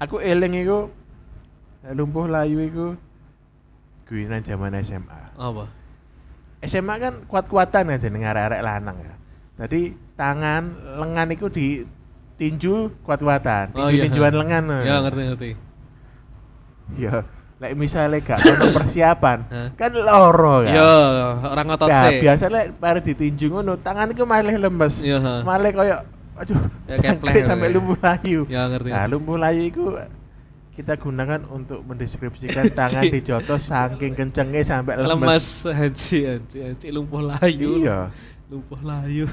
aku eling iku nek lumpuh layu iku guyonan zaman SMA. Apa? SMA kan kuat-kuatan aja nih arek-arek lanang ya. Jadi tangan lengan itu ditinju kuat-kuatan, tinju tinjuan lengan. Ya Oh, ngerti ngerti. Ya, lek misalnya gak ono persiapan, Hah? kan loro kan. Ya, orang ngotot Nah, sih. biasa lek bare ditinju ngono, tangan iku malah lemes. Iya, ha. Malah koyo aduh, Ya, kepleh sampai- sampai ya. lumpuh layu. Ya, ngerti, Nah, ngerti. lumpuh layu iku kita gunakan untuk mendeskripsikan tangan dijotos saking kencengnya sampai lemes lemes. haji haji haji lumpuh layu Iya. lumpuh layu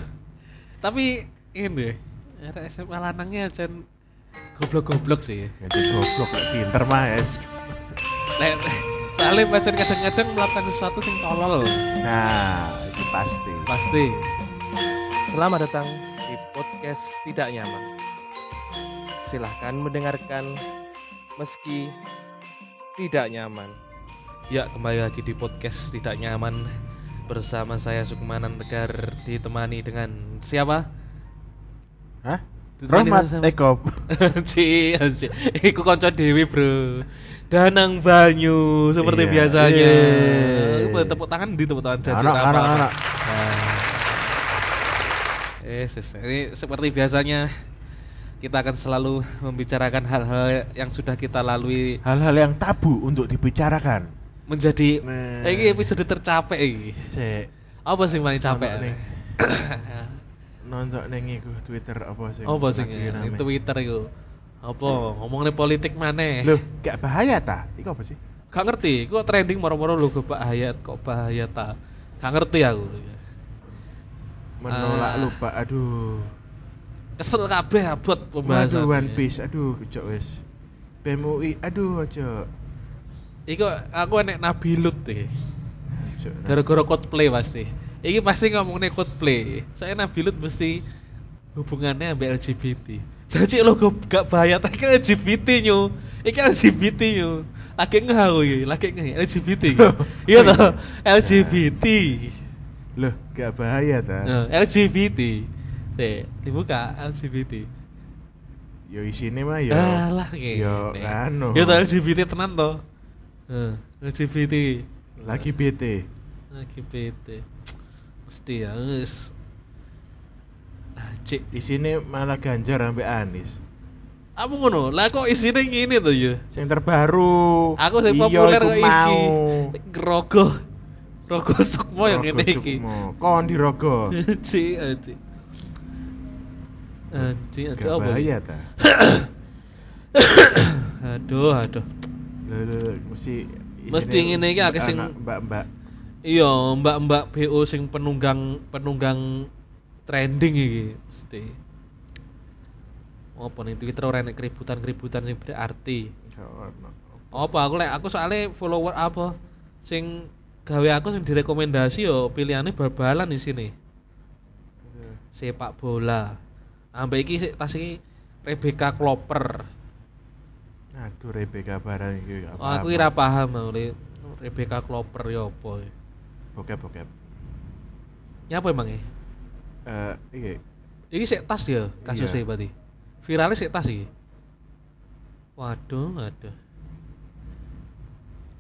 tapi ini ada SMA lanangnya jen goblok-goblok sih Jadi goblok lek pinter mah es. Lek- soalnya pacar kadang-kadang melakukan sesuatu yang tolol Nah, itu pasti. pasti Selamat datang di podcast Tidak Nyaman. Silahkan mendengarkan meski tidak nyaman. ya kembali lagi di podcast tidak nyaman bersama saya Sukmanan Tegar ditemani dengan siapa Hah? Ditemani Rahmat eh, sama- Eko. Ci, ci. Iku konco dewi bro. Danang Banyu Iya. seperti biasanya. Yeay. Iya. Boleh Tepuk tangan di tepuk tangan jajar Anak, apa Nah. anak, anak. Eh, sis, ini seperti biasanya kita akan selalu membicarakan hal-hal yang sudah kita lalui Hal-hal yang tabu untuk dibicarakan. menjadi Nah. eh, ini episode tercapek ini. Sik. Apa sih yang paling capek? Ono ning- Nonton neng iku Twitter apa sih? Apa sih? Itu Itu Twitter itu. Apa ngomongin politik mana? Loh, gak bahaya ta? Iku apa sih? Gak ngerti, kok trending moro-moro lho kok bahaya, kok bahaya ta. Gak ngerti aku. Menolak Ah. lupa. Aduh. Kesel kabeh abot pembahasan. Waduh, One Piece. Aduh, kecok wis. PMUI. Aduh, ojo. Iku aku enek Nabi Lut deh. Ojo. Gara-gara cosplay pasti. Iki pasti ngomongnya cosplay. Soalnya Nabi Lut mesti hubungannya ambil LGBT. Jadi lo gak, gak bahaya kan ta iki LGBT nyu. kan Iki LGBT nyu. Lagi ngeh aku iki, lagi ngeh LGBT iki. Iya toh, LGBT. Loh, gak bahaya ta? Nah, LGBT. Sih, dibuka LGBT. Yo isine mah yo. Dah lah ngene. Yo anu. Yo Iya toh LGBT tenan Nah, to. Heeh, LGBT. Lagi BT. Nah, LGBT. Mesti ya wis. Ah, Cik, Isine malah Ganjar ambek Anies. apa ngono? Lah kok isine ngene to ya? Sing terbaru. Aku sing Iya, populer iku kok iki. mau. Rogo. Rogo Sukmo yang Rogo ngene iki. Sukmo. Kon dirogo. Cik, ah, cik. Ah, Cik, ah, cik Gak apa? bahaya ta? Aduh, aduh. Loh, loh, loh, mesti Mesti ngene iki akeh sing- anak mbak-mbak. Iya, mbak-mbak BO sing penunggang penunggang trending iki mesti. Apa nih Twitter ora enek keributan-keributan sing berarti. Gak ono. Apa aku lek aku soalnya follower apa sing gawe aku sing direkomendasi yo pilihannya bal-balan di sini. Sepak bola. Ambek iki sik tas iki Rebecca Klopper. Aduh Rebecca barang iki gak Oh, aku ora paham aku le Rebecca Klopper yo apa. Bokep-bokep. Ya apa emang e? Eh, iki Iki sik tas ya kasusnya Iya. berarti. Viralnya sik tas iki. Waduh, waduh.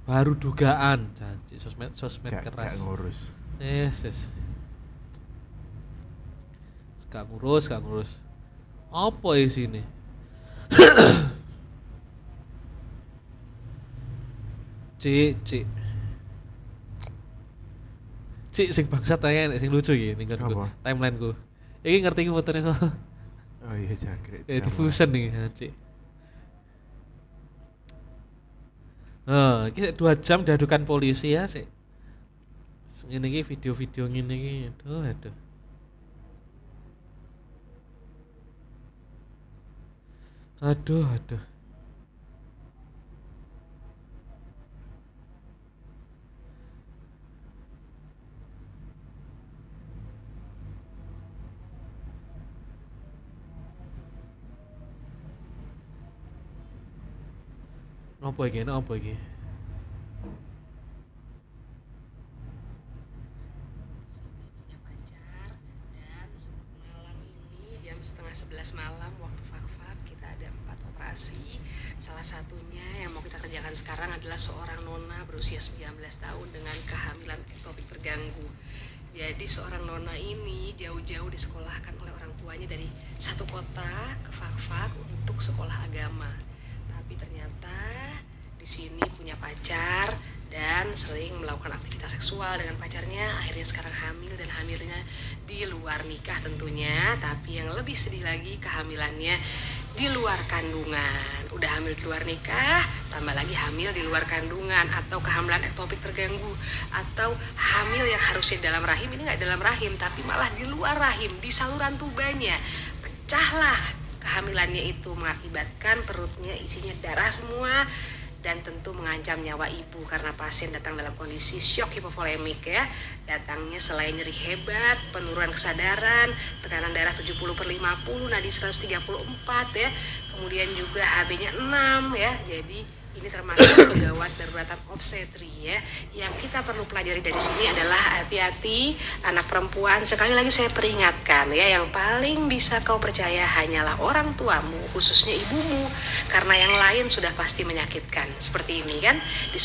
Baru dugaan, janji sosmed sosmed gak keras. gak ngurus. Eh, sis. Gak ngurus, gak ngurus. Apa ya isine? Cik, cik. Cik sing bangsat ae nek sing lucu iki ning Apa? nggonku, timeline-ku. Iki ngerti ku fotone so. Oh iya jangkrik. Eh sama. diffusion iki, ha, cik. Nah, iki sik 2 jam diadukan polisi ya sik. Ngene iki video-video ngene iki, aduh aduh. Aduh aduh. Apa iki? Apa iki? punya pacar dan malam ini jam setengah 11 malam waktu fak-fak kita ada empat operasi satunya yang mau kita kerjakan sekarang adalah seorang nona berusia 19 tahun dengan kehamilan ektopi terganggu. Jadi seorang nona ini jauh-jauh disekolahkan oleh orang tuanya dari satu kota ke Fakfak untuk sekolah agama. Tapi ternyata di sini punya pacar dan sering melakukan aktivitas seksual dengan pacarnya akhirnya sekarang hamil dan hamilnya di luar nikah tentunya tapi yang lebih sedih lagi kehamilannya di luar kandungan udah hamil di luar nikah tambah lagi hamil di luar kandungan atau kehamilan ektopik terganggu atau hamil yang harusnya dalam rahim ini nggak dalam rahim tapi malah di luar rahim di saluran tubanya pecahlah kehamilannya itu mengakibatkan perutnya isinya darah semua dan tentu mengancam nyawa ibu karena pasien datang dalam kondisi shock hipovolemik ya datangnya selain nyeri hebat penurunan kesadaran tekanan darah 70 per 50 nadi 134 ya kemudian juga HB nya 6 ya jadi ini termasuk kegawat daruratan obstetri ya yang kita perlu pelajari dari sini adalah hati-hati anak perempuan sekali lagi saya peringatkan ya yang paling bisa kau percaya hanyalah orang tuamu khususnya ibumu karena yang lain sudah pasti menyakitkan seperti ini kan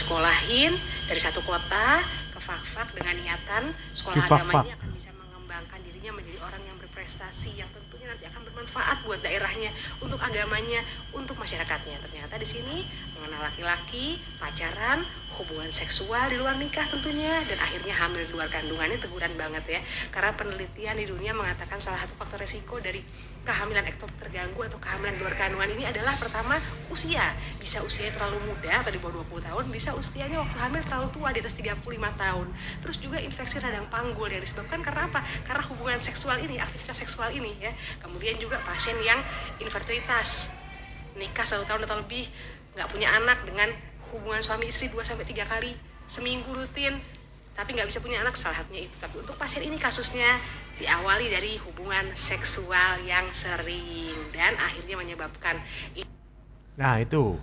disekolahin dari satu kota ke fak-fak dengan niatan sekolah Di fak-fak. agama ini akan bisa mengembangkan dirinya menjadi orang yang berprestasi yang tentunya nanti akan bermanfaat buat daerahnya untuk agamanya untuk masyarakatnya ternyata di sini mengenal laki-laki pacaran hubungan seksual di luar nikah tentunya dan akhirnya hamil di luar kandungannya teguran banget ya karena penelitian di dunia mengatakan salah satu faktor resiko dari kehamilan ektopik terganggu atau kehamilan di luar kandungan ini adalah pertama usia bisa usianya terlalu muda atau di bawah 20 tahun bisa usianya waktu hamil terlalu tua di atas 35 tahun terus juga infeksi radang panggul yang disebabkan karena apa karena hubungan seksual ini aktivitas seksual ini ya kemudian juga pasien yang infertilitas nikah satu tahun atau lebih nggak punya anak dengan hubungan suami istri 2 sampai tiga kali seminggu rutin tapi nggak bisa punya anak salah satunya itu tapi untuk pasien ini kasusnya diawali dari hubungan seksual yang sering dan akhirnya menyebabkan Nah itu.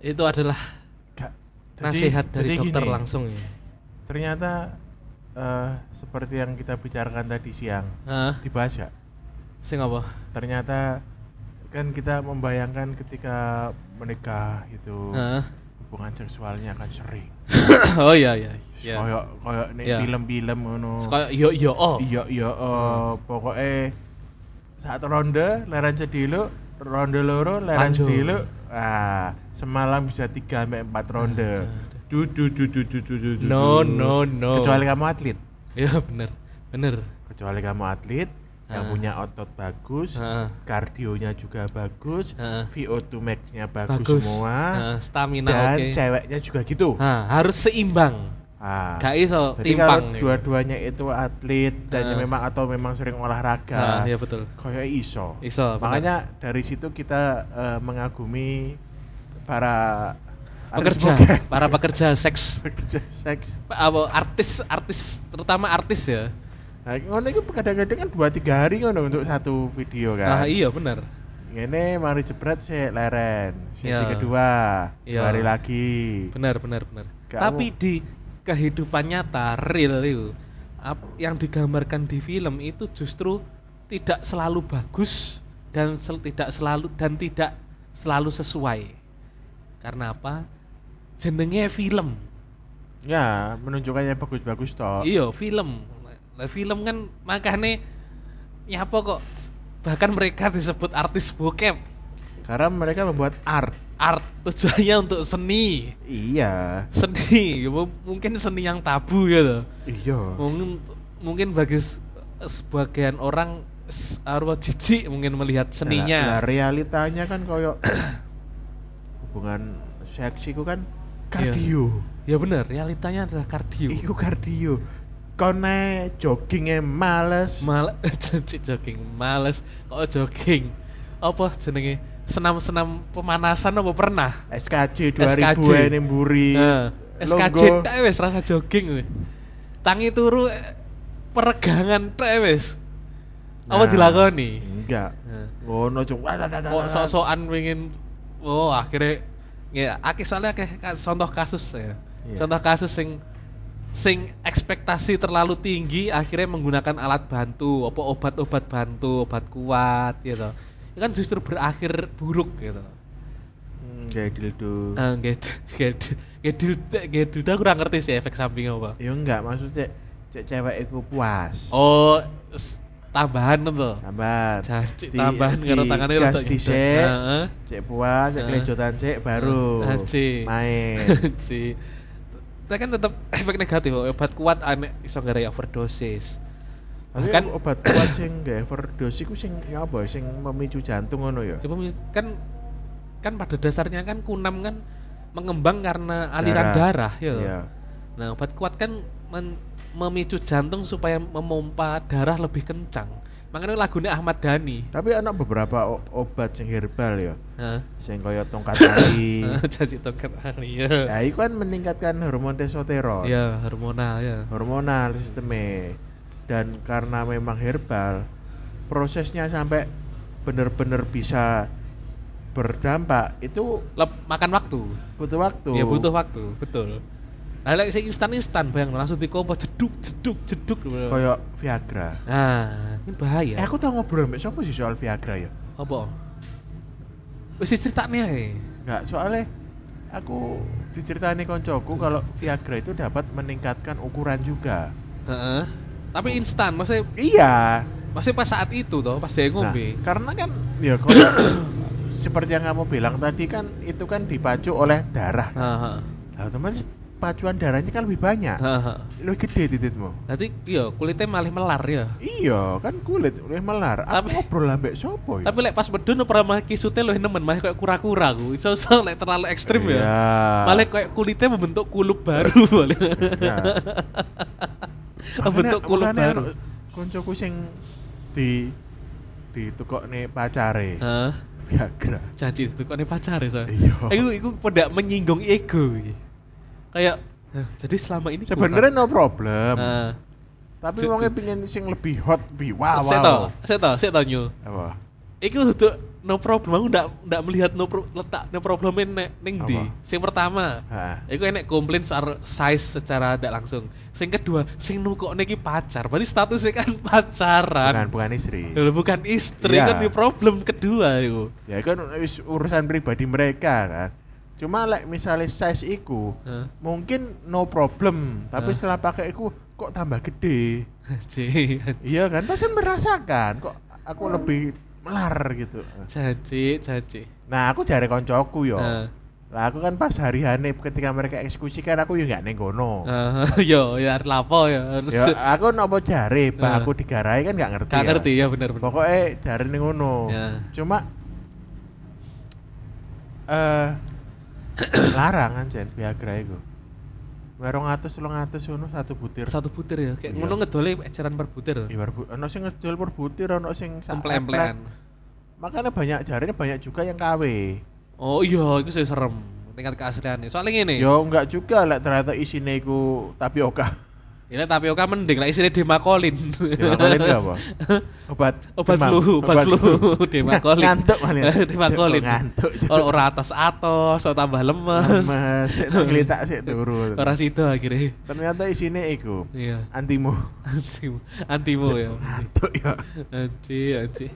Itu adalah Gak- jadi- nasihat dari jadi dokter gini, langsung ya. Ternyata eh, seperti yang kita bicarakan tadi siang Heeh. dibahas ya. Sing apa? Ternyata kan kita membayangkan ketika menikah itu Heeh. hubungan seksualnya akan sering. oh iya iya. Iya. Koyok koyok nek Ya. film-film ngono. Kayak yo yo oh. Iya iya eh, pokoknya saat ronde leren sediluk ronde loro leren Lanjut. sediluk ah semalam bisa tiga sampai empat ronde du du du du du du du du, No, du. no, no. kecuali kamu atlet Ya bener. Bener. kecuali kamu atlet yang Ah. punya otot bagus Ah. kardionya juga bagus Ah. VO2 max-nya bagus, semua Heeh, stamina dan oke. ceweknya juga gitu Nah, harus seimbang. Ah. Gak iso Jadi timpang. kalau ya. dua-duanya itu atlet dan Ah. memang atau memang sering Nah, olahraga iya betul. Kayak iso. Iso, Makanya dari situ kita eh, mengagumi para artis Pekerja, bukan? para pekerja seks. pekerja seks. Pak, apa artis artis terutama artis ya. Nah, ngono itu kadang-kadang kan 2 3 hari ngono untuk satu video Ah kan. iya bener. Ngene mari jebret sik leren. Sesi Iya. kedua, Iya. mari lagi. Benar, benar, benar. Kamu- Tapi di kehidupan nyata real itu ap- yang digambarkan di film itu justru tidak selalu bagus dan sel- tidak selalu dan tidak selalu sesuai. Karena apa? Jenenge film. Ya, menunjukkannya bagus-bagus toh. Iya, film. Lah film kan makanya nyapa kok bahkan mereka disebut artis bokep. Karena mereka membuat art. Art tujuannya untuk seni. Iya. Seni, ya, mu- mungkin seni yang tabu ya loh. Iya. mungkin mungkin bagi s- sebagian orang s- arwah jijik mungkin Nah, melihat lah, seninya realitanya kan koyo hubungan seksi ku kan Iya. kardio. ya bener realitanya adalah kardio Iku kardio. Kone joggingnya males. Mal- jijik jogging males kok jogging apa jenenge senam-senam pemanasan apa pernah SKJ 2000 SKJ. ini mburi. Nah, Longgo. SKJ tak wes rasa jogging weh. tangi turu eh, peregangan tak wes Nah, apa dilakoni Oh, Enggak. Nah. Ngono cung. kok sok-sokan pengen oh akhirnya ya akhir soalnya akeh ka- contoh kasus ya Iya. contoh kasus sing sing ekspektasi terlalu tinggi akhirnya menggunakan alat bantu apa obat-obat Ya bantu obat kuat gitu itu kan justru berakhir buruk gitu kayak dildo. Eh, nggak gedil gedil gedil aku kurang ngerti sih efek samping apa. Ya enggak, maksudnya cek cewek iku puas. Oh, s- tambahan itu. Sabar. Jangan tambahan karo tangannya gas rodok dhisik, nyedot. Heeh. Cek puas, cek Heeh. kelejotan cek baru Ah, cik. main. Cik. Tapi kan tetap efek negatif, oh, obat kuat aneh iso gara overdosis. Tapi Bahkan- obat kuat sing gak overdosis iku sing ya apa sing memicu jantung ngono ya. Ya, pemil- kan kan pada dasarnya kan kunam kan mengembang karena aliran darah, ya. toh? Iya. Nah, obat kuat kan men- memicu jantung supaya memompa darah lebih kencang. Makanya lagunya Ahmad Dhani. Tapi ana beberapa o- obat sing herbal ya, Nah, sing kaya tongkat tali. jadi toket hari Nah, ya. iku kan meningkatkan hormon testosteron. Ya, hormonal ya. hormonal sistemnya dan karena memang herbal prosesnya sampai benar-benar bisa berdampak itu Lep- makan waktu. butuh waktu Ya butuh waktu, betul. Nah, like sing instan-instan bayang langsung dikompo jeduk jeduk jeduk. kayak Viagra Nah, ini bahaya. eh aku tau ngobrol sama siapa sih soal Viagra ya apa? Wis diceritane ae. nggak soalnya aku diceritani koncoku kalau Viagra itu dapat meningkatkan ukuran juga Heeh. Tapi instan, maksudnya iya maksudnya pas saat itu toh, pas dia Nah, ngombe. karena kan ya kalau seperti yang kamu bilang tadi kan itu kan dipacu oleh darah Heeh. Nah, otomatis pacuan darahnya kan lebih banyak. Heeh. Lu gede titikmu. Nanti iya kulitnya malah melar ya. Iya, kan kulit oleh melar. Aku Tapi- ngobrol ambek sopo ya? Tapi lek pas medun ora mah kisute luwih nemen, malah kayak kura-kura ku. Iso-iso lek terlalu ekstrim ya. Iya. Malah kayak kulitnya membentuk kulup baru boleh. Iya. Makanya- membentuk kulup makanya baru. anu, Koncoku sing di di tukokne pacare. Heeh. Viagra. janji itu kok ini pacar ya so. Iya. Iku iku pada menyinggung ego. iki. Kayak "Hah, jadi selama ini kurang." Nah, Sebenarnya no problem. Heeh. Tapi ju- wongnya pingin sing lebih hot, lebih wow. Saya tau, saya tau, saya tau nyu. Apa? Iku untuk no problem, aku ndak ndak melihat no pro, letak no problemnya nek ning di. Apa? Sing pertama, Heeh. Iku enek komplain soal size secara tidak langsung. Sing kedua, sing nukokne iki pacar. Berarti statusnya kan pacaran. Bukan, bukan istri. Loh, bukan istri Iya. kan di problem kedua iku. Ya kan wis urusan pribadi mereka kan. Cuma like misalnya size iku, Heeh. mungkin no problem tapi Hah? setelah pakai aku kok tambah gede Anjing, iya kan pasti merasakan kok aku lebih melar gitu Janji, janji. nah aku jare koncoku yo Heeh. lah aku kan pas hari hari ketika mereka eksekusi kan aku yo nggak nenggono Eh, yo, ya harus lapo ya harus. ya aku nopo jare Heeh. bah aku digarai kan nggak ngerti Eh. Gak ngerti ya bener bener. pokoknya jare nengono Ya. cuma eh larang anjen Viagra itu Warung atus, long atus, satu butir. Satu butir ya, kayak Iya. ngono ngedole eceran per butir. Ibar bu, ono sing ngedol per butir, ono sing sak Emplean-emplean. emplek. Makanya banyak jarinya banyak juga yang KW. Oh iya, itu saya serem. Tingkat keasliannya. Soalnya gini, Yo enggak juga lek ternyata isine iku tapioka. ini tapioka mending lah isinya demakolin. Dimakolin ya apa? Obat obat demam. flu, obat flu, demakolin. Ngantuk malah. demakolin. Cuk, Ngantuk. cuk. Ora ora atas atos, ora tambah lemes. Lemes, sik tak ngelitak sik turu. Ora sido akhirnya. Ternyata isine iku Iya. antimo. Antimu, antimu Cuk, ya. Ngantuk ya. Anci, anci.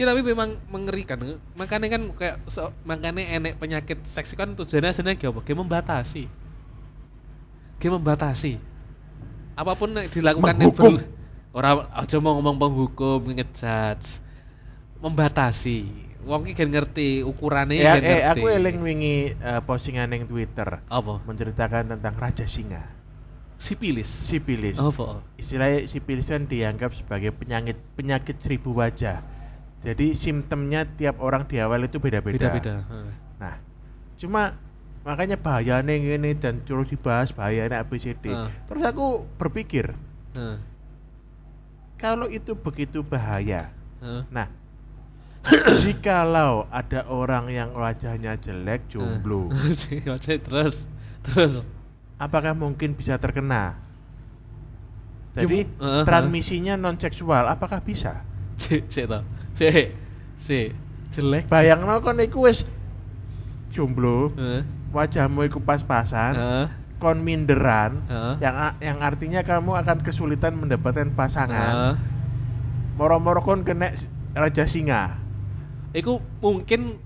Ya tapi memang mengerikan. Makanya kan kayak so- makanya enek penyakit seks kan tujuannya sebenarnya kayak apa? Kayak membatasi. Kayak membatasi. Apapun yang dilakukan yang Menghukum. berle- orang aja mau ngomong penghukum, ngejudge. Membatasi. Wong iki gen ngerti ukurannya Ya, gen eh ngerti. aku eling wingi eh, postingan yang Twitter apa? menceritakan tentang raja singa, Sipilis. Oh, sipilis. Apa? istilahnya sipilis kan dianggap sebagai penyakit penyakit seribu wajah. Jadi simptomnya tiap orang di awal itu beda-beda. Beda-beda. Heeh. Nah, cuma makanya bahayanya ini dan terus dibahas bahayanya ABCD. Ah. Terus aku berpikir Heeh. kalau itu begitu bahaya. Heeh. Nah, jikalau ada orang yang wajahnya Ah. jelek, jomblo, Heeh. terus terus apakah mungkin bisa terkena? Ya, Jadi mu- ah, ah. transmisinya non seksual, apakah bisa? Cek, cek toh. Cek. Cek. Jelek. Bayangno kon iku wis jomblo, Heeh. wajahmu iku pas-pasan, Heeh. kon minderan, Heeh. yang a- yang artinya kamu akan kesulitan mendapatkan Heeh. pasangan. Moro-moro kon kena s- raja singa. Iku mungkin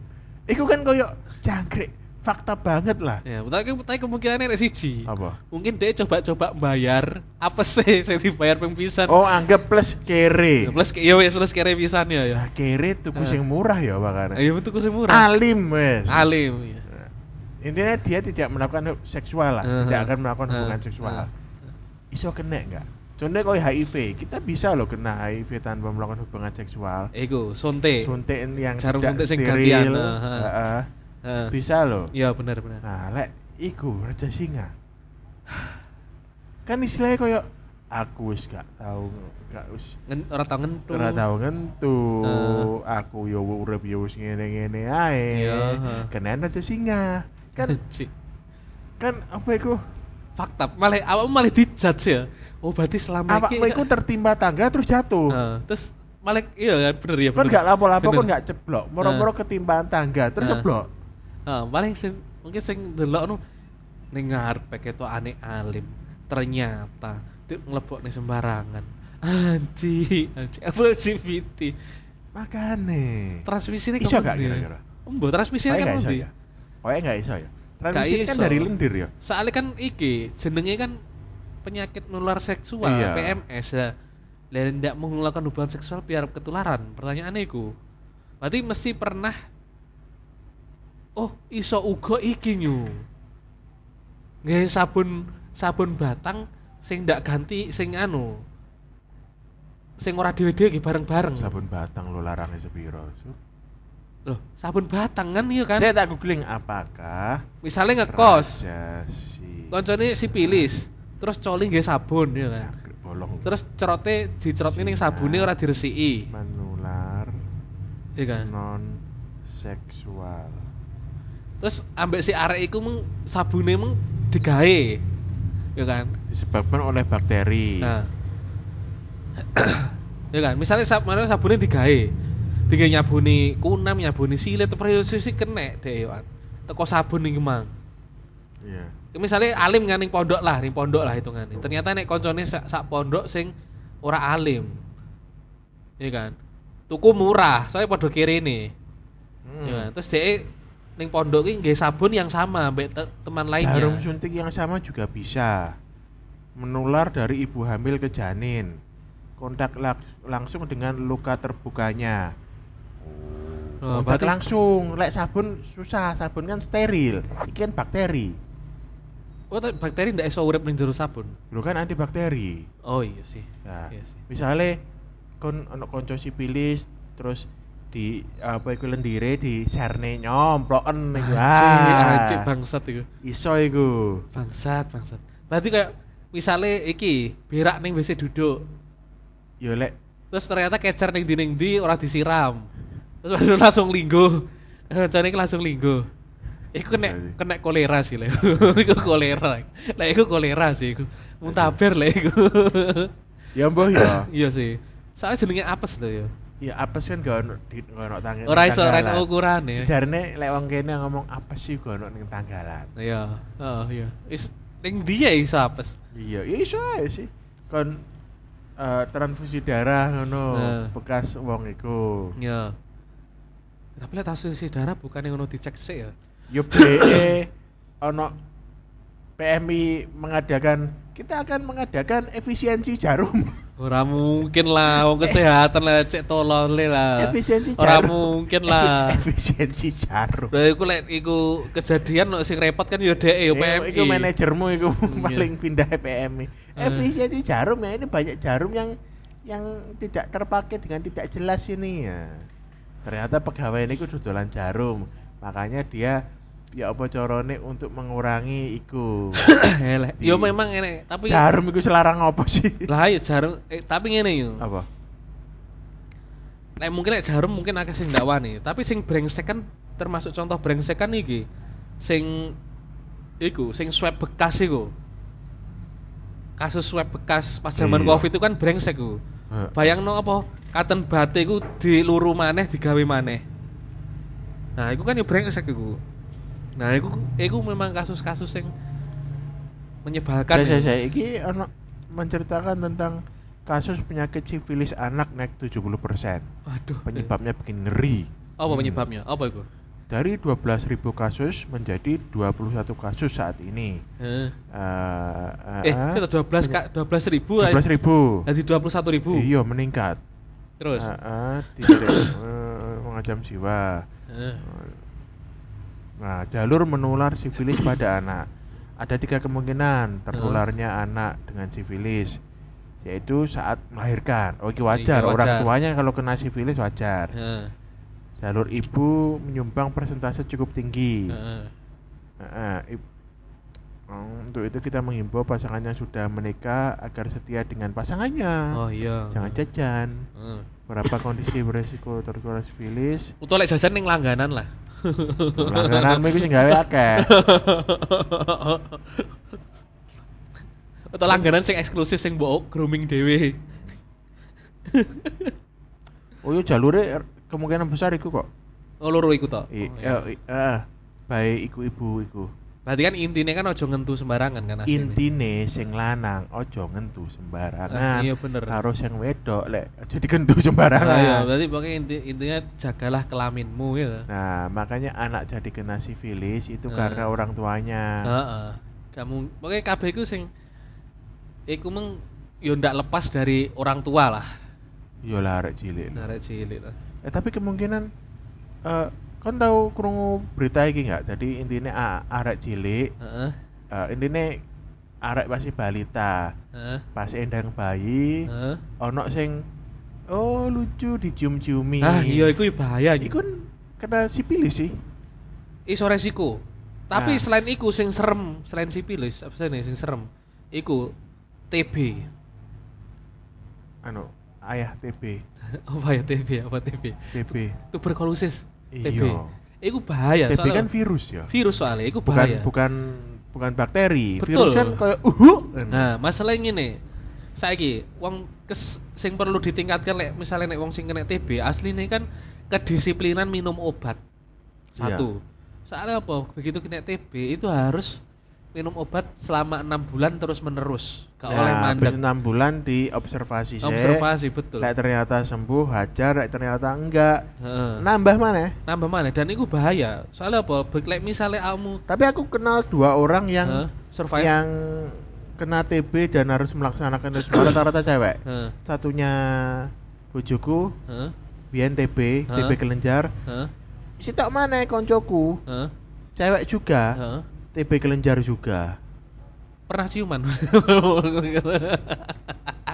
Iku kan koyo jangkrik fakta banget lah Ya, tapi, tapi kemungkinannya ada siji. apa Mungkin dia coba-coba bayar apa sih yang dibayar ping pisan. oh anggap plus kere Iya. Plus ke- ya wes plus kere pisan ya ya. nah, kere tuku Eh. sing murah ya bahkan Ayo betul sing Iya, murah. alim wes Alim. ya. intinya dia tidak melakukan seksual lah Uh-huh. tidak akan melakukan hubungan Uh, seksual uh. iso kena nggak contohnya kalau HIV kita bisa loh kena HIV tanpa melakukan hubungan seksual Ego, sonte. suntik yang jarum tidak Eh, suntik sing steril, gantian, uh, uh. heeh, Heeh. bisa loh Iya benar benar. nah lek iku raja singa kan istilahnya koyo aku wis gak tau gak wis Ngen, orang tau ngentu. Ora tau ngentu, Eh. aku yo urip yo wis ngene-ngene ae. Iya, heeh. Kenen raja singa. Kan Cik. kan apa iku? fakta malah awakmu malah dijudge ya oh berarti selama Apa iku tertimpa tangga terus jatuh. Heeh, terus malah Ah, iya kan bener ya Kon bener. gak lapo-lapo kon Bener. gak ceblok, moro-moro Eh. ketimpaan tangga terus Eh. ceblok. Heeh, paling sing- mungkin sing delok nu ning ngarep itu aneh alim ternyata itu ngelebok nih sembarangan anji anji Apple GPT Makane. transmisinya Iso kapan gak deh? kira-kira? Embo transmisinya Pokoknya gak kan iso nanti ya. Pokoknya gak iso ya. Transmisi kan iso. dari lendir ya. soalnya kan iki jenenge kan penyakit menular seksual Iya. PMS ya dan tidak menggunakan hubungan seksual biar ketularan pertanyaannya iku berarti mesti pernah oh iso uga iki nyu nggak sabun sabun batang sing ndak ganti sing anu sing ora dhewe-dhewe bareng bareng Sabun batang lo larangnya sepiro. Sup. loh sabun batang kan iya kan Saya tak googling apakah misalnya ngekos raja singa- koncone sipilis terus coli nggak sabun ya kan Jangkrik bolong. terus cerote dicerotne ning sabune ora diresiki menular iya kan non seksual terus ambek si arek iku meng sabune meng digawe iya kan disebabkan oleh bakteri nah iya kan misalnya sab misalnya sabune digawe digawe nyabuni kunam nyabuni silet sih kena deh iya kan teko sabun ning mang Iya. misalnya alim kan ning pondok lah ning pondok lah hitungannya ternyata nek koncone sak, sak pondok sing ora alim iya kan tuku murah soalnya podo kiri nih Hmm. Ya, terus dia ning pondok ini nggih sabun yang sama mbek te- teman lainnya. jarum suntik yang sama juga bisa menular dari ibu hamil ke janin kontak lak- langsung dengan luka terbukanya Oh, kontak berarti- langsung lek sabun susah sabun kan steril ikan bakteri Oh, tapi bakteri ndak iso urip ning jero sabun. lu kan antibakteri Oh iya sih. Nah, Iya sih. misalnya kon ono konco sipilis terus di apa iku lendire di serne nyomploken iku. Ah, Anjir, bangsat iku. iso iku. Bangsat, bangsat. Berarti kayak misalnya iki berak ning WC duduk. Yo Ya lek Terus ternyata kecer ning dinding di ora disiram. Terus baru langsung linggo. Kancane iki langsung linggo. Iku Bisa sih. kena kena kolera sih lek. iku kolera. Lah iku kolera sih iku. Muntaber lek iku. ya mbuh ya. Iya sih. Soalnya jenenge apes lho ya. ya apes kan gak ono di gak ono tanggal. Ora iso ora ya. ono ukurane. Jarine lek wong kene ngomong apes sih gak ono ning tanggalan. Iya. Oh iya. Is ning dia iso apes. Iya, ya iso ae sih. Kon eh, transfusi darah ngono Nah. bekas wong iku. Iya. Tapi lihat transfusi darah bukan yang ngono dicek sih ya. Yo BE E ono PMI mengadakan kita akan mengadakan efisiensi jarum. Ora mungkin lah wong kesehatan lah cek tolol lah. efisiensi jarum. Nah, Ora mungkin lah. Efi- Efisiensi jarum. Berarti iku lek iku kejadian no sing repot kan yo dhek Eh, yo PMI. Iku manajermu iku Iya. paling pindah PMI. Eh. Efisiensi jarum ya ini banyak jarum yang yang tidak terpakai dengan tidak jelas ini ya. Ternyata pegawai ini kudu dolan jarum. Makanya dia ya apa carane untuk mengurangi iku. Eleh. Eh, Yo memang enek, tapi jarum iku selarang apa sih? Lah yo jarum eh, tapi ngene yo. apa? Lek mungkin lek jarum mungkin akeh sing dakwani, tapi sing brengsek kan termasuk contoh brengsek kan iki. Sing iku, sing swab bekas iku. Kasus swab bekas pas zaman Iya. Covid itu kan brengsek ku. Heeh. Bayangno apa katen bate iku diluru maneh digawe maneh. Nah, iku kan yo brengsek iku. Nah, iku iku memang kasus-kasus yang menyebalkan. saya, ya. saya, ini ono menceritakan tentang kasus penyakit sifilis anak naik 70% Waduh. penyebabnya bikin ngeri Apa Hmm. penyebabnya? Apa iku? dari 12.000 kasus menjadi 21 kasus saat ini. Heeh. Eh, Eh, kita 12 kak, 12 ribu, 12.000. jadi 21 ribu. Iya, meningkat. Terus, Eh, eh, tidak eh, mengajam jiwa. Heeh. Nah, jalur menular sifilis pada anak. Ada tiga kemungkinan tertularnya anak dengan sifilis, yaitu saat melahirkan. Oke wajar, Iya, orang wajar. tuanya kalau kena sifilis wajar. Heeh. Jalur ibu menyumbang persentase cukup tinggi. Heeh. Heeh, ib- Hmm, untuk itu kita menghimbau pasangan yang sudah menikah agar setia dengan pasangannya. Oh iya. Jangan jajan. Heeh. Berapa kondisi beresiko tertular sifilis? Utawa lek jajan ning langganan lah. Langgananmu itu sing gawe akeh. Atau langganan sing eksklusif sing mbok grooming dhewe. Oh iya jalure er, kemungkinan besar iku kok. Oh loro iku to. I, Oh, eh, i- eh, baik iku ibu iku. Berarti kan intine kan ojo ngentu sembarangan kan asline. Intine sing lanang ojo ngentu sembarangan. Ah, iya, bener. Karo sing wedok lek aja digentu Nah, iya, sembarangan. berarti pokoknya inti, intinya jagalah kelaminmu ya. Nah, makanya anak jadi kena sifilis itu Ah. karena orang tuanya. Heeh. Kamu pokoknya kabeh iku sing iku meng yo ndak lepas dari orang tua lah. Yo lah arek cilik. lho. Arek cilik lah. Eh tapi kemungkinan eh kon tahu krungu berita iki nggak? Jadi intinya ah, arek cilik, Heeh. eh intinya arek masih balita, Heeh. pas endang bayi, Heeh. ono sing oh lucu dicium-ciumi. Ah, iya iku bahaya. Iku kan kena sipilis sih. iso resiko. Tapi Nah. selain iku sing serem, selain sipilis, apa sih nih sing serem? Iku TB. Anu, ayah TB, apa ya TB? Apa TB? TB. Tuberkulosis. Iya. TB. Iku bahaya TB Iya, soalnya. kan virus ya. virus soalnya iku bukan bahaya. bukan bukan bakteri. Virus Betul. kan kayak uhu. Nah, masalahnya ngene. Saiki wong kes sing perlu ditingkatkan lek misalnya nek wong sing kena TB asline kan kedisiplinan minum obat. Satu. Soalnya apa? Begitu kena TB itu harus minum obat selama enam bulan terus menerus. Gak oleh Nah, mandek. habis enam bulan diobservasi sih. Observasi betul. Lek ternyata sembuh hajar, lek ternyata enggak. Heeh. Nambah mana? Nambah mana? Dan itu bahaya. Soalnya apa? Bek- Lek misalnya kamu Tapi aku kenal dua orang yang Heeh, survive. yang kena TB dan harus melaksanakan itu semua rata-rata cewek. Heeh. Satunya bojoku, Heeh. biyen TB, Hah? TB kelenjar. Heeh. Sitok mana koncoku, Heeh. cewek juga, Heeh. TB kelenjar juga. Pernah ciuman.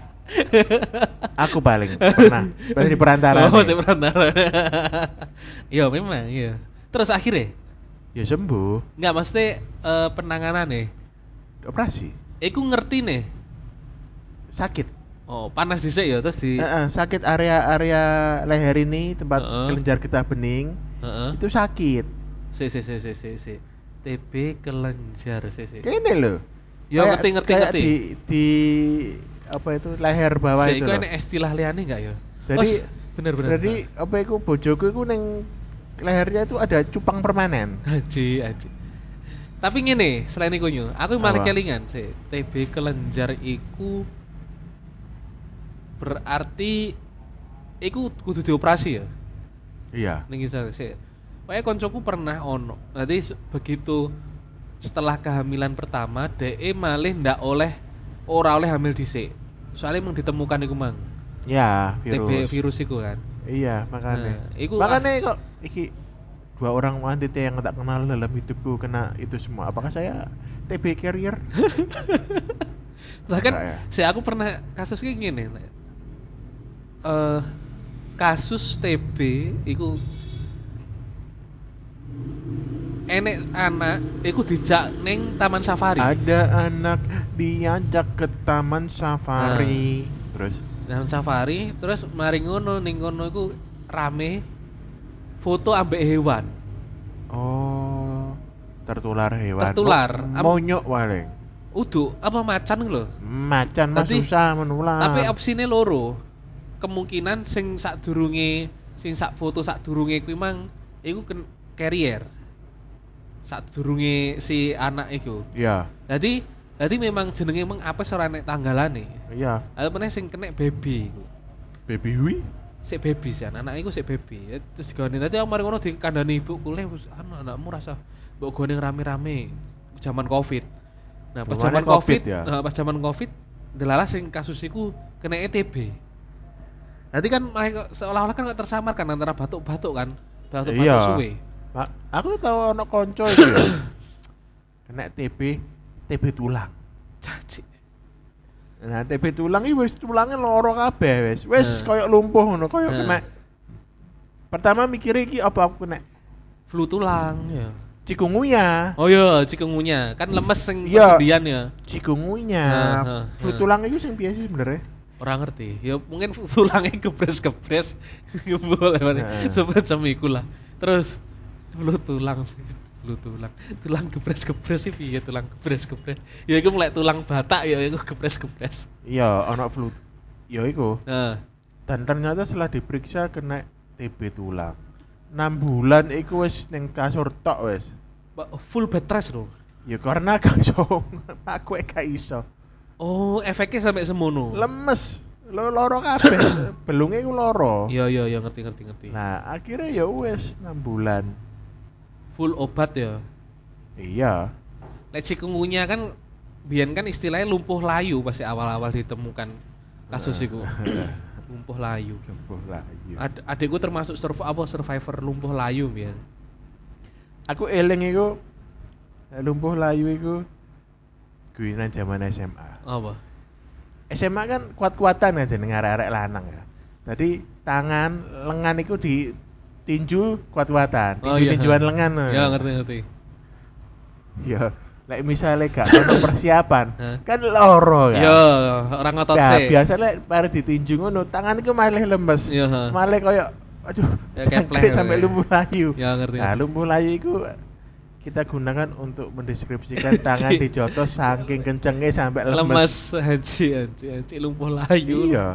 Aku paling pernah, pernah di perantara. Oh, nih. saya perantara. Iya, memang iya. Terus akhirnya Ya sembuh, nggak mesti eh, penanganan nih. operasi. Iku ngerti nih. Sakit. Oh, panas dhisik ya terus di Eh, eh, sakit area-area leher ini tempat Heeh. kelenjar getah bening Heeh. itu sakit. Si si si si si si. TB kelenjar si si. Kene loh. Kayak- Ya, ngerti, ngerti, kayak ngerti. Di, di apa itu leher bawah Si, itu. iku loh. enek istilah liane nggak ya? Jadi Oh, bener bener. Jadi apa itu bojoku itu neng lehernya itu ada cupang permanen. Haji, haji. Tapi ngene, selain iku nyu, aku malah Apa? kelingan sih. TB kelenjar iku berarti iku kudu dioperasi ya. Iya. Ning kisah sih. Pokoknya koncoku pernah ono. Nanti se- begitu setelah kehamilan pertama, DE malih ndak oleh ora oleh hamil dhisik. Soalnya emang ditemukan iku mang. Ya, virus. TB virus iku kan. Iya, makanya. Nah, iku- makanya kok iki dua orang wanita yang tak kenal dalam hidupku kena itu semua. Apakah saya TB carrier? bahkan Enggak ya? saya aku pernah kasus kayak gini Le. Eh, kasus TB itu enek anak iku dijak neng taman safari Ada anak diajak ke taman safari. Nah. Terus taman safari terus mari ngono ning ngono iku rame foto ambek hewan oh tertular hewan. Tertular. Am- Mo- monyok paling. uduk apa macan lho Macan mah Tapi- susah menular. tapi opsine loro kemungkinan sing sak durunge sing sak foto sak durunge kuwi mang iku ken- carrier sak durunge si anak iku Iya, jadi jadi memang jenenge meng apa ora nek tanggalane iya. ada pernah sing kena baby iku Baby Hui? sik baby sian, anak iku sik baby. Terus digone tadi aku mari ngono dikandani ibu kule anu anakmu rasa mbok gone rame-rame zaman Covid. Nah, pas Kemarin zaman Covid, Covid ya? nah, pas zaman Covid delala sing kasus iku kena E ETB. Nanti kan mereka seolah-olah kan tersamarkan antara batuk-batuk kan, batuk-batuk Iya. suwe. Ma- aku tahu ono konco itu ya. Kena TB, TB tulang. Caci. Nah, TB tulang iki wis tulange loro kabeh wis. Wis Nah. koyo lumpuh ngono, koyo Nah. kena. Pertama mikir iki apa aku kena Flu tulang ya. Hmm. cikungunya. Oh iya, cikungunya kan lemes sing Iya. persendian ya. Cikungunya. Nah, nah, Flu nah. tulang iku sing biasa sebenarnya. Orang ngerti. Ya mungkin fu- tulangnya kepres-kepres ya, ngebul Heeh. semacam ikulah. Terus flu tulang sih. Flu tulang. Tulang kepres-kepres sih piye tulang kepres-kepres. Ya iku mulai tulang batak ya iku kepres-kepres. Iya, ono flu. Ya iku. Nah, Dan ternyata setelah diperiksa kena TB tulang. 6 bulan iku wis ning kasur tok wis. ba- oh, full bed rest loh. Ya karena kacau aku e gak iso. Oh, efeknya sampai semono. Lemes. Lo loro kabeh. Belunge iku loro. Iya iya iya ngerti ngerti ngerti. Nah, akhirnya ya wis 6 bulan. Full obat ya. Iya. Lek cikungunya kan biyen kan istilahnya lumpuh layu pasti awal-awal ditemukan kasus Nah. iku. lumpuh layu. Sembuh lah. iya. Ad adikku termasuk surf apa survivor lumpuh layu biyen. Aku eling iku lumpuh layu iku guyonan zaman SMA. Apa? SMA kan kuat-kuatan aja jeneng arek-arek lanang ya. Tadi tangan lengan iku ditinju kuat-kuatan, tinju tinjuan lengan. eh. Ya Oh ngerti ngerti. Ya, lek misalnya gak ono persiapan, Hah? kan loro kan. Ya, orang ngotot Nah, sih. biasa lek bare ditinju ngono, tangan iku malah lemes. Iya, ha. Malah koyo aduh, Ya, kepleh jangkrik sampai ya. lumpuh layu. Ya, ngerti, Nah, ngerti. lumpuh layu iku kita gunakan untuk mendeskripsikan tangan Cik. dijotos saking kencengnya sampai Lemes lemes. haji haji haji lumpuh layu. Iya.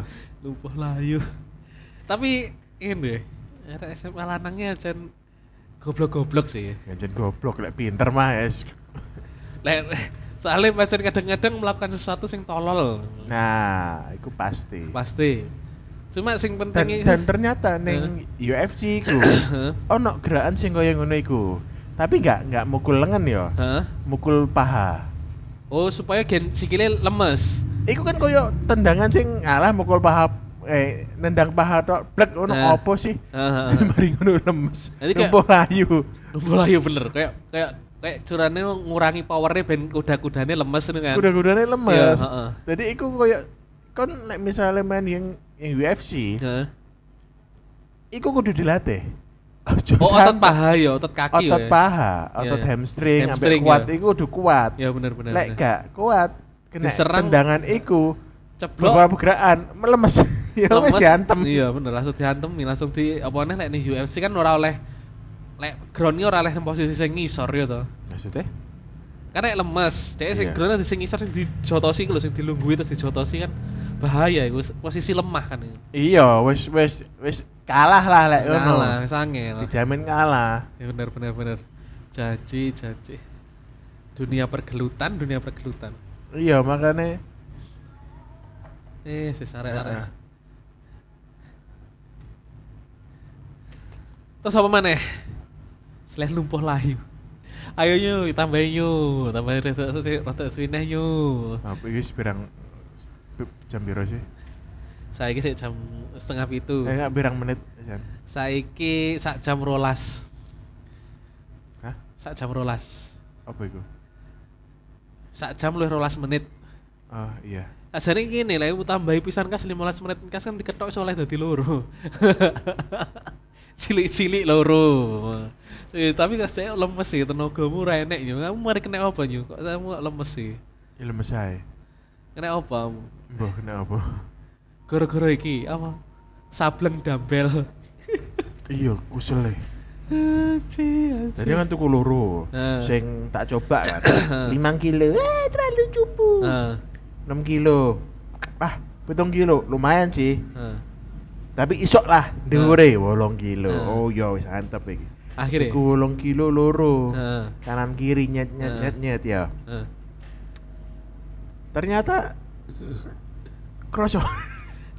Lumpuh layu. Tapi ini ada SMA lanangnya jan goblok-goblok sih. Ngajen Ya, goblok lek pinter mah es. Lek soalnya pacar kadang-kadang melakukan sesuatu sing tolol. Nah, iku pasti. Pasti. Cuma sing Dan, penting dan ternyata neng UFC ku ono gerakan sing kaya ngono iku. Tapi nggak nggak mukul lengan ya, Hah? mukul paha. Oh, supaya gen sikile lemes. Iku kan koyo tendangan sing alah mukul paha eh nendang paha tok blek ono Nah. opo sih? Heeh. Mari ngono lemes. Nanti kayak- Lumpuh layu. Bola ya bener, kayak kayak kayak curane ngurangi powernya ben kuda-kudane lemes ngono kan. Kuda-kudane Iya, lemes. heeh. Jadi iku koyo kon nek misalnya main yang yang UFC, Heeh. iku kudu dilatih. Ojo Oh, otot sampe- paha ya, otot kaki otot ya. paha, Iya, otot iya. hamstring, Hamstring, sampai kuat iya. iku kudu kuat. Ya bener bener. Lek bener. gak kuat, kena Diserang. tendangan iku beberapa Ceblok. pergerakan melemes. ya wis lemes. diantem. Iya bener, langsung diantem, langsung di apa nih lek nih UFC kan ora oleh lek ground-nya ora oleh nang posisi sing ngisor ya to. Maksudnya? Karena lek lemes, dia sing Iya. ground di sing ngisor sing dijotosi iku lho sing dilungguhi terus dijotosi kan bahaya iku posisi lemah kan iku. Iya, wis wis wis kalah lah lek Wis ngono. Kalah, wis angel. Dijamin kalah. Ya benar benar benar. Janji janji. Dunia pergelutan, dunia pergelutan. Iya, makanya Eh, si arek arek. Heeh. Terus apa maneh? Selain lumpuh layu. Ayo nyu, tambahin nyu, tambahin rata rata swineh nyu. apa iki pirang jam piro sih? Saiki sik jam setengah pitu. Eh, enggak pirang menit, Jan. Saiki sak jam rolas. Hah? Sak jam rolas. Apa iku? Sak jam luwih rolas menit. Oh, iya. Ajane ngene lha aku tambahi pisan kas 15 menit kas kan diketok iso oleh dadi loro. Cilik-cilik loro. Eh, tapi kas saya lemes sih tenagamu ora enek yo. Kamu mari kena apa yo? Kok kamu kok lemes sih? Ilmu saya. Kena apa? kamu? Mbah kena apa? Gara-gara iki apa? Sableng dambel. Iya, kusel eh. Aji, aji. Tadi kan tuku loro. Eh. Sing tak coba kan. 5 kilo. Eh, terlalu cupu. Heeh. 6 kilo. Ah, pitung kilo. Lumayan sih. heeh. Tapi isok lah, dhuwure 8 kilo. Eh. Oh iya, wis antep iki. Akhirnya. Tuku 8 kilo loro. Heeh. kanan kiri nyet nyet Nah. nyet nyet ya heeh. ternyata crossover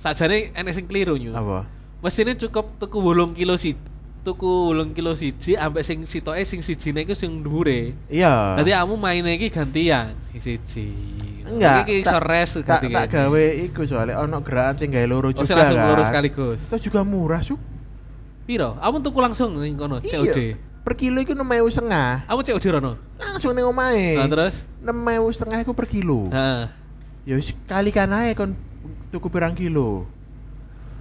Sakjane enek sing keliru yo. apa mesinnya cukup tuku wolung kilo si tuku wolung kilo siji ambek sing sitoke sing siji iku sing dhuwure. Iya. Dadi kamu mainnya iki gantian sing siji. enggak. tak- Iki iso res tak, ganti. tak gawe iku soalnya ono gerakan sing gawe loro Oh, juga. sing langsung kan. lurus sekaligus. Itu juga murah, Sup. Piro? Kamu tuku langsung ning kono COD. Iya, Per kilo iku 6.000 setengah. Kamu COD rono. Langsung ning omahe. Nah, terus? 6.000 setengah iku per kilo. Heeh. Ya wis kalikan ae kon tuku pirang kilo.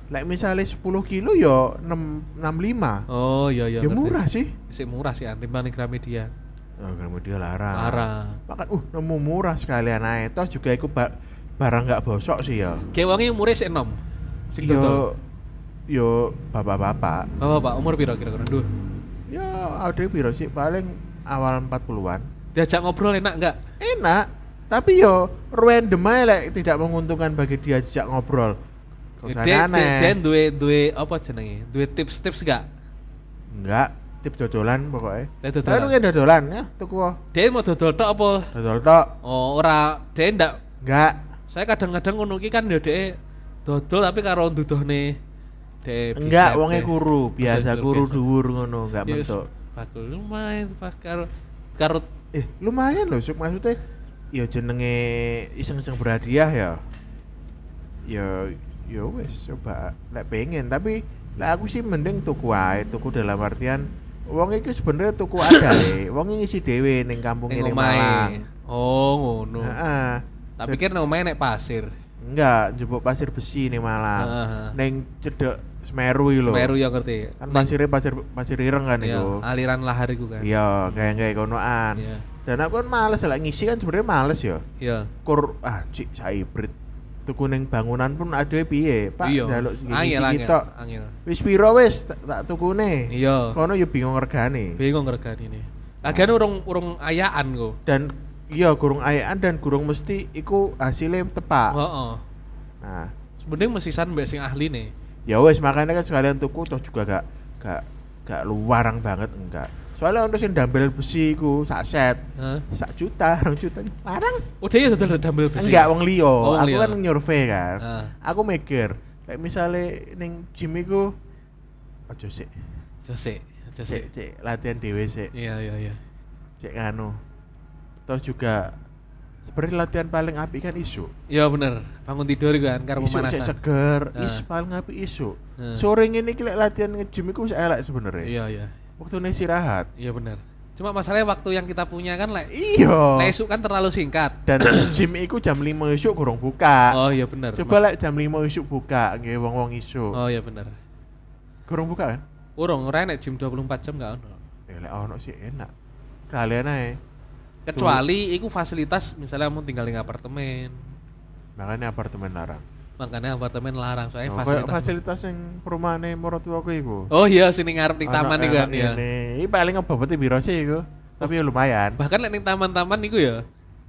Lek misalnya 10 kilo ya 6 65. Oh, iya iya. ya ngerti. murah sih. Sik murah sih antimbang ning Gramedia. Oh, Gramedia larang. Larang. Makan uh nemu murah sekalian ae. Toh juga iku ba- barang nggak bosok sih ya. Kayak wonge umure sik enom. Sing dodol. yo yo ya bapak-bapak. Oh, Pak, umur piro kira-kira? Duh. Ya ada piro sih paling awal 40-an. Diajak ngobrol enak enggak? Enak, tapi yo random ae lek tidak menguntungkan bagi dia sejak ngobrol. Kau Dia- sana dia- dia aneh. duwe duwe apa jenenge? Duwe tips-tips enggak? Enggak, tip dodolan pokoknya. Dia Tapi dodolan. lu kayak dodolan ya, tuku wo. Dia mau dodol tok apa? Dodol tok. Oh, ora dia ndak. Enggak. Saya kadang-kadang ngono iki kan ya dhek dodol tapi karo nduduhne dhek Enggak, bisep, wonge dhek- kuru, biasa Bisep, kuru biasa. dhuwur ngono, enggak Ya wis, mentok. bakul lumayan pak karo karo Eh, lumayan loh, Suk. maksudnya ya jenenge iseng-iseng berhadiah ya. Ya ya wis coba lek pengen, tapi lek aku sih mending tuku ae, tuku dalam artian wong iki sebenarnya tuku adae, wong iki ngisi dhewe ning kampung ning ini omahe. Malang. Oh, ngono. Heeh. Tak Dan- pikir ning omahe nek pasir. enggak jebuk pasir besi ning Malang. Heeh. Ning cedek Semeru iki Iya lho. Semeru ya ngerti. Kan Ning- pasirnya pasir pasir ireng kan Iya, itu. aliran lahar iku kan. Iya, kayak-kayak konoan. Iya. Dan aku kan males lah ngisi kan sebenarnya males ya. Iya. kur ah cik saya hybrid tuku ning bangunan pun aduh piye pak Iya. jaluk Angel, segini angel, tok angel. wis piro wis tak, tak tukune Iya. kono yo bingung regane Bingung regane ini. Lagian urung urung ayaan kok. dan iya gurung ayaan dan gurung mesti iku hasilnya tepat Heeh. nah Sebenarnya mesisan mbek sing ahli nih. ya wis makanya kan sekalian tuku toh juga gak gak gak luarang banget enggak soalnya untuk yang dumbbell besi iku sak set Heeh. sak juta orang juta larang Udah ya dodol dumbbell besi. Enggak, Kan wong liya. Oh, wong aku liya. kan nyurvei kan. Ah. Aku mikir, lek misale ning gym iku aja sik, Jose, Jose. sik, sik latihan dhewe sik, Iya, iya, iya. sik anu. Terus juga sebenarnya latihan paling apik kan isuk. Iya bener. Bangun tidur iku kan karo Isuk sik pemanasan. seger, Ah. is paling apik isuk. Ah. Sore ngene iki lek latihan nge-gym iku wis elek sebenarnya. Iya, iya. Waktune istirahat. Iya bener. Cuma masalahnya waktu yang kita punya kan lek Iya. lek esuk kan terlalu singkat. Dan gym iku jam 5 isuk gorong buka. Oh iya bener. Coba lek jam 5 isuk buka nggih wong-wong isuk. Oh iya bener. Gorong buka kan? Urung ora nek gym 24 jam gak ono. Ya lek ono sih enak. Kalian ae. Kecuali iku fasilitas misalnya kamu tinggal di apartemen. Makanya apartemen larang. Makanya apartemen larang soalnya Oh, kayak fasilitas. fasilitas yang perumahane Morotuaku iku. Oh iya sini ngarep ning Ono taman iku kan enak ya. ngene. Iki paling ngeboboti biro sih iku. Tapi ya lumayan. Bahkan lek ning taman-taman iku ya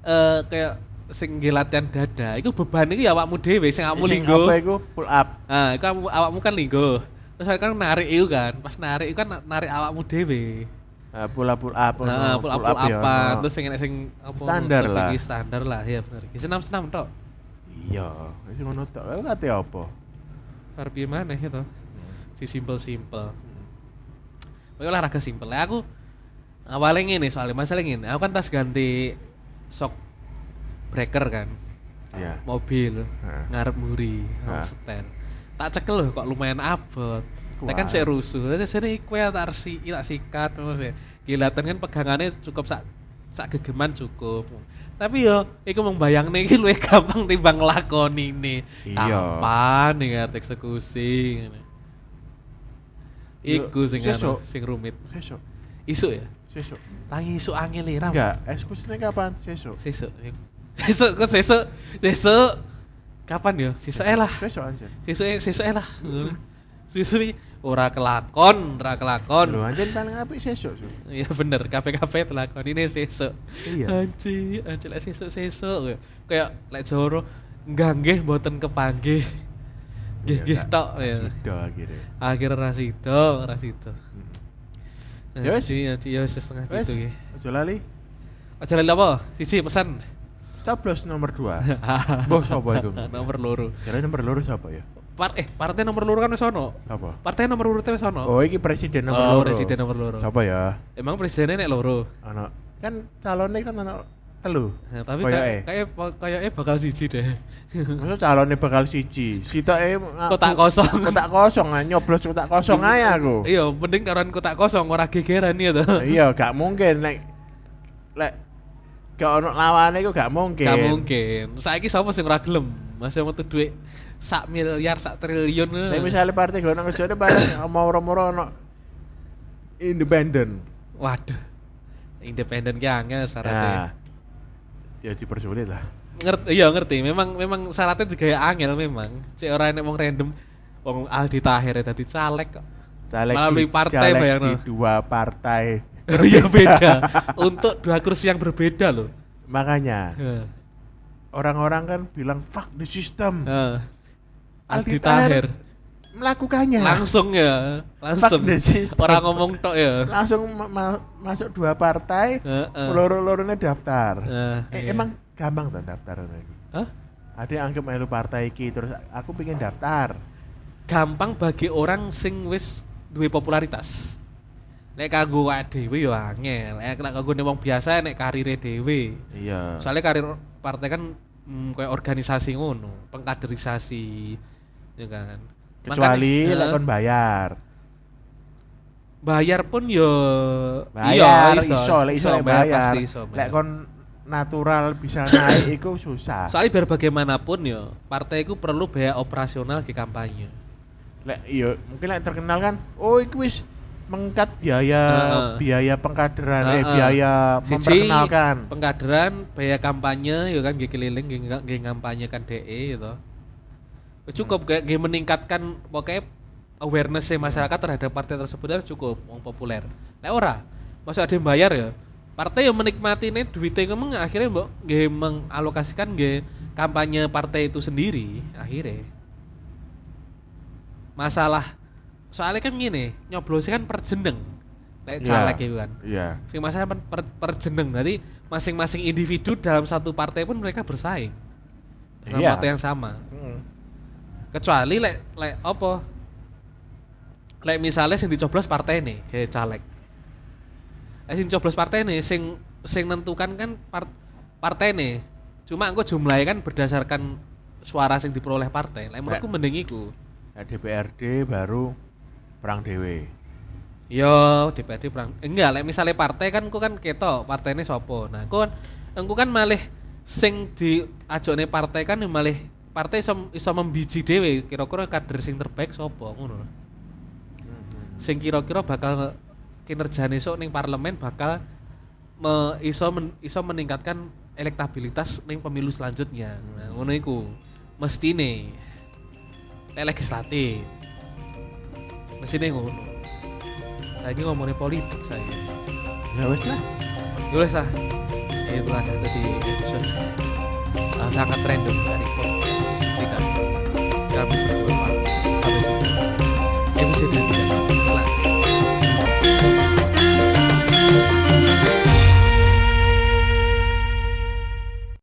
eh kayak sing nggih latihan dada, iku beban iku ya awakmu dhewe sing awakmu Sing linggo. Apa iku? Pull up. Ah, iku awakmu, awakmu kan linggo. Terus kan narik iku kan, pas narik iku kan narik awakmu dhewe. Eh, pull up pull up. Nah, ono. pull up, pull up, ya ono. apa, terus sing enek sing apa Standar untuk lah. tinggi standar lah, ya bener. Ki senam-senam tok. Iya, wis ngono tok. Aku kate apa? Bar piye maneh ya toh. Si simple-simple. Pokoknya olahraga simple. Lah aku awalnya ngene soalnya masalah ngene. Aku kan tas ganti shock breaker kan, Iya. mobil Heeh. ngarep muri, Heeh. ngarep setel. Tak cekel loh kok lumayan abot. Kuat. Tak kan saya rusuh. Terus sini kue tak resi, tak sikat terus ya. Kelihatan kan pegangannya cukup sak sak gegeman cukup. Tapi yo, iku membayang nih, lu gampang timbang lakon ini. Iya. Kapan nih ngerti eksekusi? ngene. Yo, Iku sing sesuk. anu, sing rumit. Sesuk, Isuk ya? sesuk. Tangi isuk angin liram. Enggak, eksekusinya kapan? Sesuk. Sesuk. Sesuk kok sesuk. Sesuk. Kapan ya? Sesuk ae lah. Sesuk anjir. Sesuk ae- sesuk ae lah. Sesuk iki ora kelakon, ora Lho kelakon. anjir paling apik sesuk. Su. Iya bener, kafe-kafe telakon ini sesuk. Iya. Anci, anci lek sesuk-sesuk kayak lek joro enggak nggih mboten kepanggih. Nggih Iya, nggih tak- tok tak ya. Sido akhirnya. Akhirnya rasido, rasido. Hmm. Ya wis. Anci, anci ya wis setengah Wes, pitu iki. ojo lali. Aja lali apa? Siji pesan. Coblos nomor 2. Mbah Oh, sapa iku? Nomor loro. Kira nomor loro sapa ya? Par eh partai nomor loro kan wis ono. Apa? Partai nomor urutnya wis ono. Oh, iki presiden nomor Oh, loro. presiden nomor loro. Siapa ya? Emang presidennya nek loro. Ono. Kan calonnya kan ono telu. Nah, tapi Koyoke. kayak kayak kayak bakal siji deh. Maksud calonnya bakal siji. Sitoke ngaku- Kotak kosong. Kotak kosong ah, nyoblos kotak kosong ae aku. Iya, mending karuan kotak kosong ora gegeran ya to. Iya, gak mungkin lek lek gak ono lawane iku gak mungkin. Gak mungkin. Saiki sapa sing ora gelem? Masih metu duit sak miliar, sak triliun. eh. Nek misale partai gak ono kerjane bareng moro-moro ono independen. Waduh. Independen ki angel Nah. syaratnya. Ya dipersulit lah. Ngerti, iya ngerti. Memang memang syaratnya digaya angel memang. Cek ora enek wong random wong Aldi Taher tadi caleg kok. Caleg Melalui di- partai, caleg bayangno. di dua partai. Iya beda. Untuk dua kursi yang berbeda loh. Makanya Heeh. orang-orang kan bilang fuck the system. Heeh. Aldi Aldi Taher. Taher Melakukannya. langsung ya, langsung. Fuck the system. Orang ngomong tok ya. langsung ma- ma- masuk dua partai, Heeh. loro-lorone daftar. Heeh, eh, iya. emang gampang tuh daftar lagi. Hah? Ada yang anggap melu partai iki terus aku pengen daftar. gampang bagi orang sing wis duwe popularitas. Nek kanggo awake dhewe ya angel. Nek nek kanggo wong biasa nek karire dhewe. Iya. Soalnya karir partai kan mm, kayak organisasi ngono, pengkaderisasi ya kan. Kecuali Makanya, lek eh, kon bayar. bayar pun ya yo Bayar iso, lek iso lek Iya, bayar, bayar. pasti iso Lek bayar. kon natural bisa naik iku susah. Soalnya biar bagaimanapun yo, partai itu perlu biaya operasional di kampanye. lek iya mungkin lek terkenal kan oh iku wis mengkat biaya Heeh. biaya pengkaderan eh Heeh. biaya Siji, memperkenalkan pengkaderan biaya kampanye ya kan nggih keliling nggih nga- nggih ngampanyekan DE gitu cukup Hmm. kayak nggih meningkatkan pokoknya awareness masyarakat terhadap partai tersebut harus cukup wong populer lek ora masuk ada yang bayar ya partai yang menikmati nih duitnya ngomong akhirnya mbok nggih mengalokasikan nggih kampanye partai itu sendiri akhirnya masalah soalnya kan gini nyoblosnya kan per jeneng lek Iya. caleg gitu kan iya sing masalah per, per, per jeneng nanti masing-masing individu dalam satu partai pun mereka bersaing dalam Iya. partai yang sama kecuali lek lek apa lek misalnya sing dicoblos partai nih kayak caleg lek sing coblos partai nih sing sing nentukan kan part, partai nih cuma engko jumlahnya kan berdasarkan suara sing diperoleh partai lek menurutku mending iku Nah, DPRD baru perang dewe Yo, DPRD perang. Enggak, lek misalnya partai kan ku kan ketok, partainya sopo. Nah, ku kan engku kan malih sing diajone partai kan yang malih partai iso, iso membiji dhewe kira-kira kader sing terbaik sopo ngono. lho. Sing kira-kira bakal kinerjane sok ning parlemen bakal me, iso men- iso meningkatkan elektabilitas ning pemilu selanjutnya. Nah, ngono iku. Mestine lek legislatif. Mestine ngono. Saiki ngomongin politik saya. Ya ya wis lah Boleh sah. Itu ada tadi episode eh, sangat random dari podcast tidak kami berdua.